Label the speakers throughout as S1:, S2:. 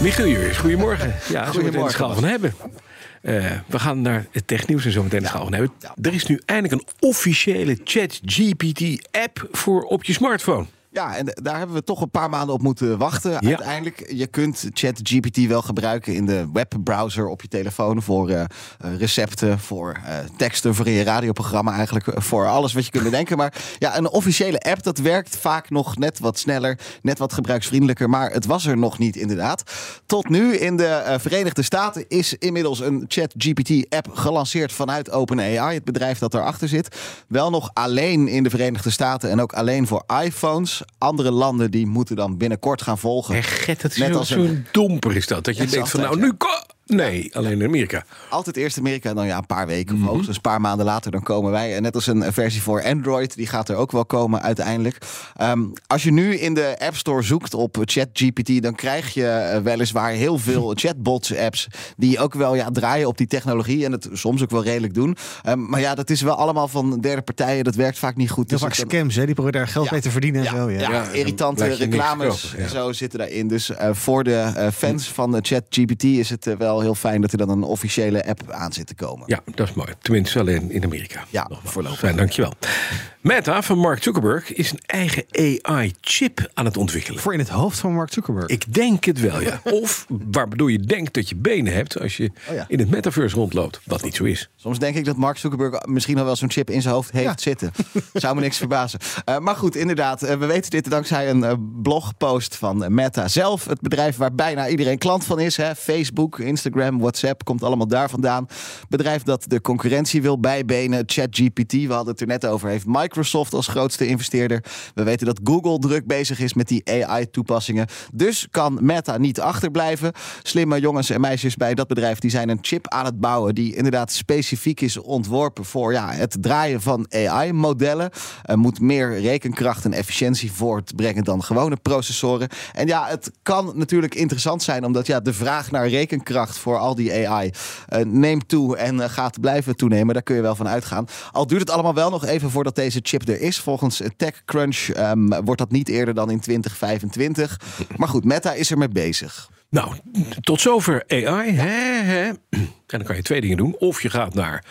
S1: Michiel Jurgens, goedemorgen. Ja, zo meteen de
S2: Goedemorgen,
S1: schaal van hebben. Eh, we gaan naar het technieuws en zo meteen de schaal van hebben. Er is nu eindelijk een officiële ChatGPT-app voor op je smartphone.
S2: Ja, en daar hebben we toch een paar maanden op moeten wachten. Uiteindelijk, je kunt ChatGPT wel gebruiken in de webbrowser op je telefoon voor eh, eh, recepten, voor eh, teksten, voor je radioprogramma, eigenlijk eh, voor alles wat je kunt bedenken. Maar ja, een officiële app, dat werkt vaak nog net wat sneller, net wat gebruiksvriendelijker, maar het was er nog niet inderdaad. Tot nu in de eh, Verenigde Staten is inmiddels een ChatGPT-app gelanceerd vanuit OpenAI, het bedrijf dat daarachter zit. Wel nog alleen in de Verenigde Staten en ook alleen voor iPhones. Andere landen die moeten dan binnenkort gaan volgen.
S1: Hé, gek, dat is
S2: Net
S1: zo-
S2: als
S1: zo'n
S2: een-
S1: domper is dat. Dat je
S2: Ja,
S1: denkt van nou,
S2: altijd,
S1: nu... ko- Nee, alleen in Amerika.
S2: Altijd eerst Amerika en dan ja, een paar weken
S1: Mhm.
S2: of hoogstens een paar maanden later dan komen wij. En net als een eh, versie voor Android, die gaat er ook wel komen uiteindelijk. Ehm, als je nu in de App Store zoekt op ChatGPT, dan krijg je eh, weliswaar heel veel chatbots-apps die ook wel ja, draaien op die technologie en het soms ook wel redelijk doen. Ehm, maar ja, dat is wel allemaal van derde partijen. Dat werkt vaak niet goed.
S3: Heel
S2: Dus
S3: vaak
S2: het-
S3: scams, hè? Die proberen daar geld
S2: Ja.
S3: mee te verdienen en
S2: ja,
S3: zo. Ja.
S2: ja,
S1: Ja, en
S2: irritante
S1: dan laat je niks
S2: reclames
S1: verkopen, ja. Hm.
S2: en zo zitten daarin. Dus eh, voor de eh, fans van de ChatGPT is het eh, wel heel fijn dat er dan een officiële app aan zit te komen.
S1: Ja, dat is mooi. Tenminste, alleen in Amerika.
S2: Ja,
S1: Nogmaals.
S2: voorlopig.
S1: Fijn, dankjewel. Meta van Mark Zuckerberg is een eigen AI-chip aan het ontwikkelen.
S3: Voor in het hoofd van Mark Zuckerberg.
S1: Ik denk het wel, ja. Of waardoor je denkt dat je benen hebt als je
S2: Oh ja.
S1: in het metaverse rondloopt. Wat niet zo is.
S2: Soms denk ik dat Mark Zuckerberg misschien al wel zo'n chip in zijn hoofd heeft
S3: Ja.
S2: zitten. Zou me niks verbazen. Eh, maar goed, inderdaad. eh, we weten dit dankzij een eh, blogpost van eh, Meta zelf. Het bedrijf waar bijna iedereen klant van is. Hè? Facebook, Instagram, WhatsApp komt allemaal daar vandaan. Bedrijf dat de concurrentie wil bijbenen. ChatGPT, we hadden het er net over, heeft Microsoft als grootste investeerder. We weten dat Google druk bezig is met die AI-toepassingen. Dus kan Meta niet achterblijven. Slimme jongens en meisjes bij dat bedrijf die zijn een chip aan het bouwen die inderdaad specifiek is ontworpen voor ja, het draaien van AI-modellen. Er moet meer rekenkracht en efficiëntie voortbrengen dan gewone processoren. En ja, het kan natuurlijk interessant zijn omdat ja, de vraag naar rekenkracht voor al die AI eh, neemt toe en eh, gaat blijven toenemen. Daar kun je wel van uitgaan. Al duurt het allemaal wel nog even voordat deze chip er is. Volgens eh, TechCrunch ehm, wordt dat niet eerder dan in 2025. Maar goed, Meta is er mee bezig.
S1: Nou, tot zover AI. Hè, hè. En dan kan je twee dingen doen. Of je gaat naar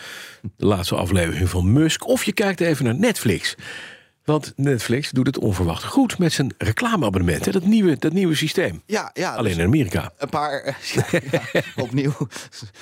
S1: de laatste aflevering van Musk. Of je kijkt even naar Netflix. Want Netflix doet het onverwacht goed met zijn reclameabonnement. Hè, dat, nieuwe, dat nieuwe systeem.
S2: Ja, ja. dus-
S1: Alleen in Amerika.
S2: een paar. eh, ja, ja, opnieuw.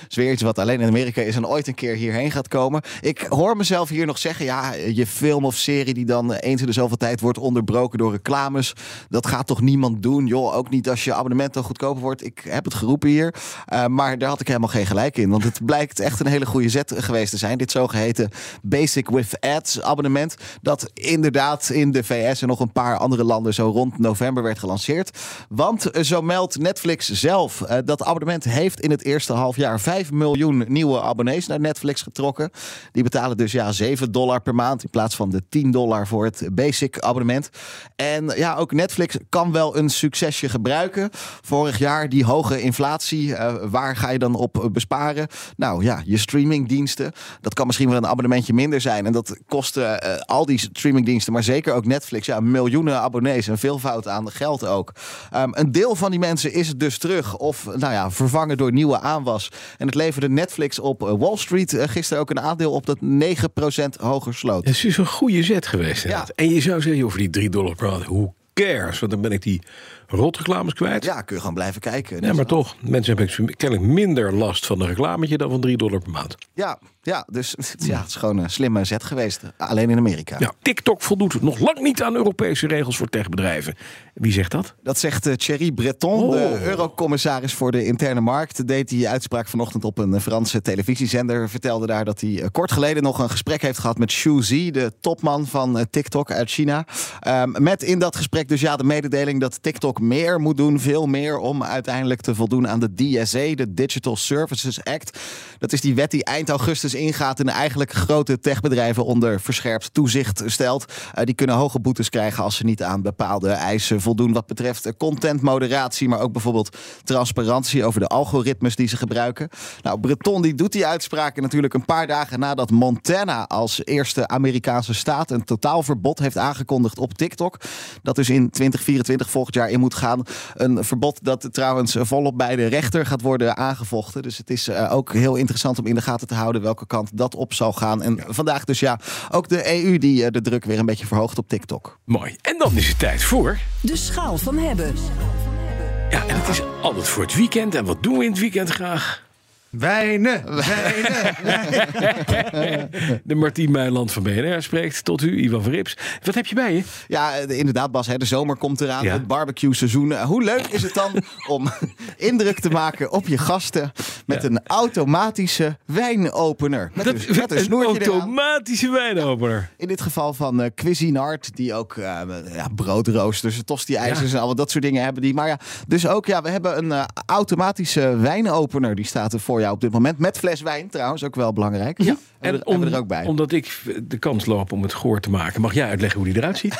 S2: Zweer iets wat alleen in Amerika is en ooit een keer hierheen gaat komen. Ik hoor mezelf hier nog zeggen: ja, je film of serie die dan eens in de zoveel tijd wordt onderbroken door reclames. Dat gaat toch niemand doen? Joh, ook niet als je abonnement dan goedkoper wordt. Ik heb het geroepen hier. eh, maar daar had ik helemaal geen gelijk in. Want het blijkt echt een hele goede zet geweest te zijn. Dit zogeheten Basic with Ads abonnement. Dat inderdaad in de VS en nog een paar andere landen zo rond november werd gelanceerd. Want eh, zo meldt Netflix zelf eh, dat abonnement heeft in het eerste half jaar 5 miljoen nieuwe abonnees naar Netflix getrokken. Die betalen dus ja 7 dollar per maand in plaats van de 10 dollar voor het basic abonnement. En ja, ook Netflix kan wel een succesje gebruiken. Vorig jaar die hoge inflatie, eh, waar ga je dan op eh, besparen? Nou ja, je streamingdiensten. Dat kan misschien wel een abonnementje minder zijn. En dat kostte eh, al die streamingdiensten, maar zeker ook Netflix, ja, miljoenen abonnees en veelvoud aan geld ook. Ehm, een deel van die mensen is het dus terug of nou ja, vervangen door nieuwe aanwas. En het leverde Netflix op eh, Wall Street eh, gisteren ook een aandeel op dat 9% hoger sloot.
S1: Het is dus een goede zet geweest. inderdaad. En je zou zeggen, joh, voor die 3 dollar per maand, who cares? Want dan ben ik die rotreclames kwijt.
S2: Ja, kun je gewoon blijven kijken.
S1: Ja, maar toch, mensen hebben kennelijk minder last van een reclametje dan van 3 dollar per maand.
S2: Ja, ja, dus ja, het is gewoon een slimme zet geweest. eh, Alleen in Amerika.
S1: Ja. TikTok voldoet nog lang niet aan Europese regels voor techbedrijven. Wie zegt dat?
S2: Dat zegt eh, Thierry Breton, de eurocommissaris voor de interne markt. Deed die uitspraak vanochtend op een eh, Franse televisiezender. Vertelde daar dat hij eh, kort geleden nog een gesprek heeft gehad met Xu Zi, de topman van eh, TikTok uit China. Ehm, met in dat gesprek dus ja de mededeling dat TikTok ook meer moet doen, veel meer, om uiteindelijk te voldoen aan de DSA, de Digital Services Act. Dat is die wet die eind augustus ingaat en eigenlijk grote techbedrijven onder verscherpt toezicht stelt. Eh, die kunnen hoge boetes krijgen als ze niet aan bepaalde eisen voldoen wat betreft eh, contentmoderatie, maar ook bijvoorbeeld transparantie over de algoritmes die ze gebruiken. Nou, Breton die doet die uitspraken natuurlijk een paar dagen nadat Montana als eerste Amerikaanse staat een totaalverbod heeft aangekondigd op TikTok. Dat dus in 2024 volgend jaar in moet gaan. Een verbod dat trouwens eh, volop bij de rechter gaat worden aangevochten. Dus het is eh, ook heel interessant om in de gaten te houden welke kant dat op zal gaan. En vandaag dus ja, ook de EU die eh, de druk weer een beetje verhoogt op TikTok.
S1: Mooi. En dan is het tijd voor.
S4: De schaal van hebben.
S1: Ja, en het is altijd voor het weekend. En wat doen we in het weekend graag?
S3: Wijnen.
S1: De Martien Meiland van BNR spreekt tot u, Ivan Verrips. Wat heb je bij je?
S2: Ja, eh, inderdaad Bas, hè, de zomer komt eraan,
S1: Ja.
S2: het barbecue seizoen. Eh, Hoe leuk is het dan om indruk te maken op je gasten met
S1: Ja.
S2: een automatische wijnopener. Met, een, met een snoertje eraan.
S1: automatische wijnopener.
S2: In dit geval van eh Cuisinart, die ook eh ja, broodroosters, tosti-ijzers en al wat dat soort dingen hebben. Die. Maar ja, dus ook, ja, we hebben een eh, automatische wijnopener. Die staat er voor jou op dit moment. Met fles wijn trouwens, ook wel belangrijk. Ja. En we, hebben we er ook bij.
S1: Omdat ik de kans loop om het goor te maken, mag jij uitleggen hoe die eruit ziet?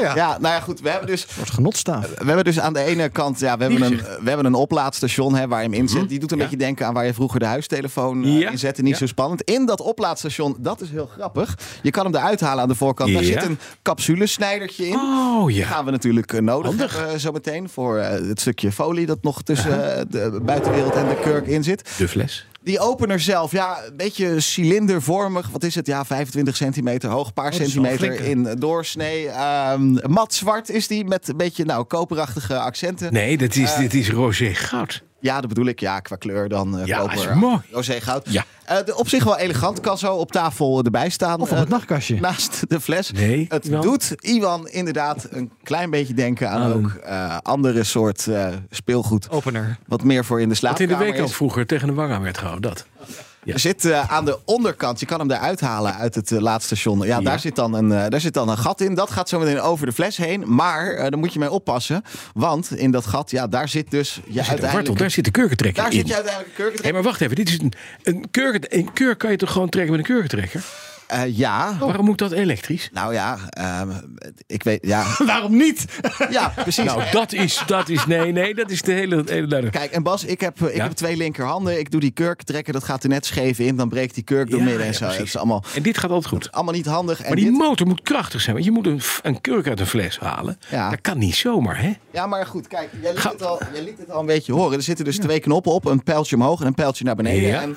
S3: ja.
S2: Ja, nou ja, goed. We hebben dus
S3: Wordt genotstaaf.
S2: we hebben dus aan de ene kant, ja, we, hebben een,
S1: gezicht.
S2: we hebben een oplaadstation hè, waar je hem inzet. Die doet een
S1: Mhm. Ja.
S2: beetje denken aan waar je vroeger de huistelefoon eh,
S1: Ja.
S2: in zette. Niet
S1: Ja.
S2: zo spannend. In dat oplaadstation, dat is heel grappig. Je kan hem eruit halen aan de voorkant. Daar
S1: Ja.
S2: zit een capsulesnijdertje in.
S1: Oh ja.
S2: Gaan we natuurlijk eh, nodig
S1: Handig.
S2: hebben, eh, zometeen voor eh, het stukje folie dat nog tussen eh, de buitenwereld en de kurk in zit.
S1: De fles.
S2: Die opener zelf, ja, een beetje cilindervormig. Wat is het? Ja, 25 centimeter hoog, paar
S1: Oh,
S3: is wel
S2: centimeter
S3: flink, hè?
S2: in doorsnee. Ehm, mat zwart is die, met een beetje nou, koperachtige accenten.
S1: Nee, dat
S2: Eh.
S1: is, dit is roze goud.
S2: Ja, dat bedoel ik. Ja, qua kleur dan eh
S1: Ja,
S2: koper.
S1: is mooi.
S2: Rosé goud.
S1: Ja.
S2: Eh, de- op zich wel elegant. Kan zo op tafel erbij staan.
S3: Of op het
S2: Eh,
S3: nachtkastje.
S2: Naast de fles.
S1: Nee,
S2: het
S1: Iwan. Oh.
S2: doet Iwan inderdaad een klein beetje denken aan ook eh, andere soort eh, speelgoed.
S3: Opener.
S2: Wat meer voor in de
S1: Wat in de
S2: slaapkamer
S1: weekend
S2: is.
S1: vroeger tegen een wang aan werd gehouden, dat. Ja.
S2: Er zit eh, aan de onderkant, je kan hem eruit halen uit het eh, laadstation. Ja,
S1: Ja.
S2: Daar, zit dan een, eh, daar zit dan een gat in. Dat gaat zo meteen over de fles heen. Maar eh, daar moet je mee oppassen. Want in dat gat, ja, daar zit dus je
S1: Zit een
S2: uiteindelijk...
S1: Wortel, daar zit de kurkentrekker
S2: daar
S1: in.
S2: zit je uiteindelijk een kurk.
S1: Hé, maar wacht even. Dit is een, een, kurk, een kurk kan je toch gewoon trekken met een kurkentrekker?
S2: Eh, ja.
S1: Waarom moet dat elektrisch?
S2: Nou ja, ehm, ik weet. Ja,
S3: Waarom niet?
S2: ja precies.
S1: Nou, dat is, dat is, nee, nee, dat is de hele, het hele duidelijk.
S2: Kijk, en Bas, ik heb, eh, ik
S1: Ja?
S2: heb twee linkerhanden. Ik doe die kurk trekken, dat gaat er net scheef in. Dan breekt die kurk door midden en
S1: ja,
S2: zo.
S1: precies.
S2: Dat is allemaal,
S1: En dit gaat altijd goed.
S2: allemaal niet handig. En
S1: Maar die
S2: dit-
S1: motor moet krachtig zijn, want je moet een, f- een kurk uit een fles halen.
S2: Ja.
S1: Dat kan niet zomaar, hè?
S2: Ja, maar goed, kijk, jij liet,
S1: Ga-
S2: het al, jij liet het al een beetje horen. Er zitten dus twee knoppen op, een pijltje omhoog en een pijltje naar beneden.
S1: Ja.
S2: En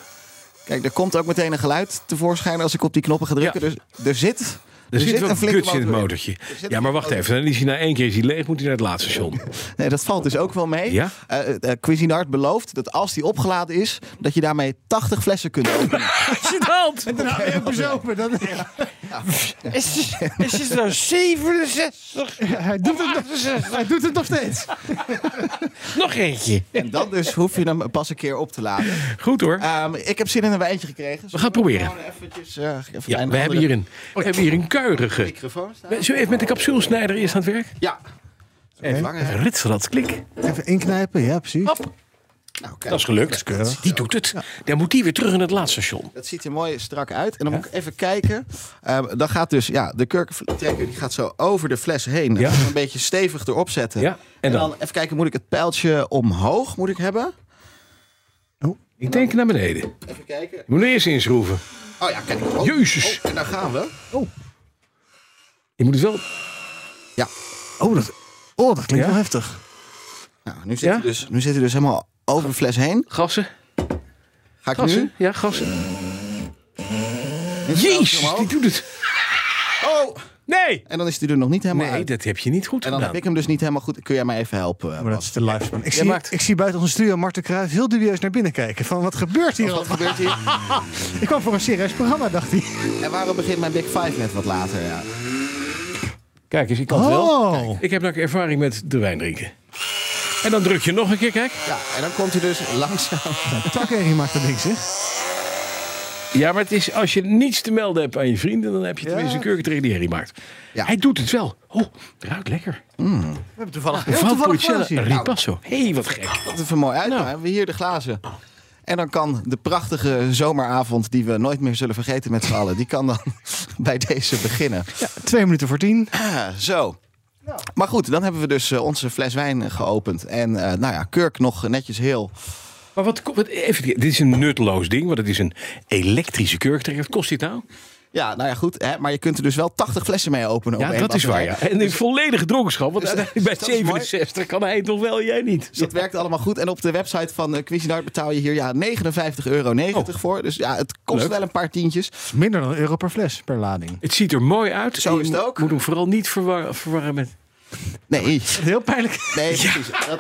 S2: kijk, er komt ook meteen een geluid tevoorschijn als ik op die knoppen ga drukken.
S1: Ja.
S2: Dus er zit,
S1: Er, zit, wel
S2: een flinke
S1: guts in het
S2: motor
S1: motortje.
S2: zit
S1: Ja, maar
S2: een
S1: wacht
S2: motor.
S1: even. Dan is hij na één keer is hij leeg, moet hij naar het laatste station.
S2: Nee, dat valt dus ook wel mee.
S1: Ja?
S2: Eh, eh, Cuisinart belooft dat als die opgeladen is, dat je daarmee 80 flessen kunt openen.
S1: Gênant!
S3: Nou, ik bezopen. Dat...
S5: Is het nou 67?
S3: Hij, doet het, nog- hij doet het nog steeds.
S5: Nog eentje.
S2: En dan dus hoef je hem pas een keer op te laden.
S1: Goed hoor.
S2: Ehm, ik heb zin in een wijntje gekregen.
S1: We gaan het proberen.
S2: Gewoon eventjes, eh, even een
S1: Ja, we
S2: andere
S1: hebben hier een, we hebben hier een kuierige.
S2: microfoon staan.
S1: Eh, Zullen we even met de capsulesnijder eerst aan het werk?
S2: Ja. Langer, hè?
S1: Ritselat, klik.
S3: Even inknijpen, ja, precies.
S2: nou,
S1: Dat
S2: kijk,
S1: is gelukt. Die doet het. Dan moet die weer terug in het laadstation.
S2: dat ziet er mooi strak uit. En dan moet ik even kijken. Ehm, dan gaat dus ja, de kurkentrekker die gaat zo over de fles heen.
S1: Ja.
S2: Een beetje stevig erop zetten.
S1: Ja, en dan?
S2: even kijken, moet ik het pijltje omhoog moet ik hebben?
S1: Ik denk naar beneden.
S2: Even kijken.
S1: Je moet er eerst inschroeven.
S2: Oh ja, kijk. Oh,
S1: Jezus.
S2: oh, en daar gaan we.
S1: Je moet het wel...
S2: Ja.
S3: Oh, dat, oh, dat klinkt
S1: Ja?
S3: wel heftig.
S2: Nou, nu zit,
S1: Ja?
S2: hij dus, nu zit hij dus helemaal over de fles heen.
S1: Gassen.
S2: Ga ik
S1: Gassen.
S2: nu?
S1: Ja, gassen.
S2: Dit pijltje
S1: Jezus,
S2: omhoog.
S1: die doet het.
S2: Oh!
S1: Nee!
S2: En dan is hij er nog niet helemaal
S1: Nee,
S2: uit.
S1: dat heb je niet goed
S2: En dan
S1: gedaan.
S2: heb ik hem dus niet helemaal goed. Kun jij mij even helpen? eh,
S3: Maar dat
S2: Bas?
S3: is de lifespan. Ik,
S1: Jij
S3: zie,
S1: maakt-
S3: ik zie buiten onze studio Marten Kruijf heel dubieus naar binnen kijken. Van Oh, wat gebeurt hier?
S2: Wat
S3: allemaal?
S2: gebeurt hier?
S3: Ik kwam voor een serieus programma, dacht hij.
S2: En waarom begint mijn Big Five net wat later? Ja.
S1: Kijk eens, ik kan het wel.
S3: Oh,
S1: Ik heb nog ervaring met de wijn drinken. En dan druk je nog een keer, kijk.
S2: ja, en dan komt hij dus langzaam.
S3: Takkerrie maakt dat ding, zeg.
S1: Ja, maar het is als je niets te melden hebt aan je vrienden, dan heb je tenminste een kurkentrekker die herrie maakt.
S2: Ja.
S1: Hij doet het wel. Oh, ruikt lekker.
S3: We hebben toevallig heel
S1: Van
S3: toevallig wel
S1: Purcell
S3: eens hier.
S1: Ripasso. Hé,
S2: Nou,
S1: hey, wat gek.
S2: Dat is er mooi
S1: Nou.
S2: uit. maar we Hier de glazen. En dan kan de prachtige zomeravond die we nooit meer zullen vergeten met z'n allen... die kan dan bij deze beginnen.
S3: Twee minuten voor tien.
S2: Ah, zo. Maar goed, dan hebben we dus eh, onze fles wijn geopend. En eh, nou ja, kurk nog netjes heel.
S1: Maar wat, ko- wat even, dit is een nutteloos ding, want het is een elektrische kurkentrekker. Wat kost dit nou?
S2: Ja, nou ja, goed. Hè, maar je kunt er dus wel 80 flessen mee openen. op
S1: Ja,
S2: één
S1: dat is waar.
S2: batterij.
S1: Ja. En in volledige dronkenschap, want uiteindelijk
S2: dat
S1: bij
S2: is mooi.
S1: 67 kan hij het nog wel, jij niet.
S2: Dus dat werkt allemaal goed. En op de website van eh, Cuisinart betaal je hier ja, 59,90 euro voor. Dus ja, het
S1: Oh.
S2: kost
S1: Leuk.
S2: wel een paar tientjes.
S3: Dat is minder dan een euro per fles per lading.
S1: Het ziet er mooi uit.
S2: Zo
S1: En je
S2: is het
S1: mo-
S2: ook.
S1: moet hem vooral niet verwar- verwarren met...
S2: Nee,
S3: Heel pijnlijk.
S2: nee precies. Dat,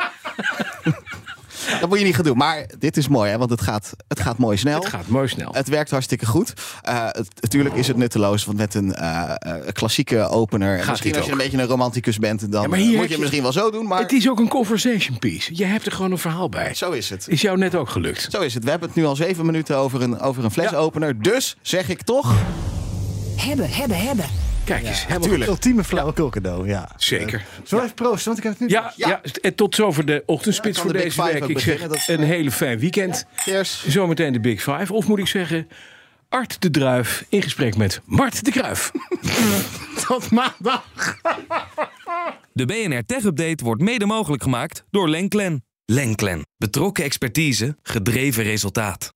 S2: dat moet je niet gaan doen. Maar dit is mooi, hè, want het gaat, het gaat mooi snel.
S1: Het gaat mooi snel.
S2: Het werkt hartstikke goed. Eh, het, natuurlijk is het nutteloos, want met een eh, eh, klassieke opener. misschien
S1: dit
S2: als je
S1: ook.
S2: een beetje een romanticus bent, dan
S1: Ja, maar
S2: eh,
S1: hier heb
S2: moet je het
S1: je-
S2: misschien wel zo doen. Maar
S1: Het is ook een conversation piece. Je hebt er gewoon een verhaal bij.
S2: zo is het.
S1: Is jou net ook gelukt?
S2: Zo is het. We hebben het nu al zeven minuten over een, over een flesopener. Dus zeg ik toch.
S4: Hebben, hebben, hebben.
S1: Kijk eens, helemaal
S2: tuurlijk.
S3: Ultieme flauwekul cadeau, ja.
S1: Zeker.
S3: Zullen we even proosten, want ik heb het nu...
S1: Ja, ja. en tot zover de ochtendspits
S2: Ja, kan
S1: voor
S2: de Big
S1: deze
S2: Five
S1: week.
S2: ook
S1: Ik zeg
S2: beginnen, dat is- eh,
S1: een hele fijn weekend.
S2: Cheers.
S1: Zometeen de Big Five. Of moet ik zeggen, Art de Druif in gesprek met Mart de Kruif.
S3: Tot maandag.
S6: De BNR Tech Update wordt mede mogelijk gemaakt door Lenklen. Lenklen. Betrokken expertise, gedreven resultaat.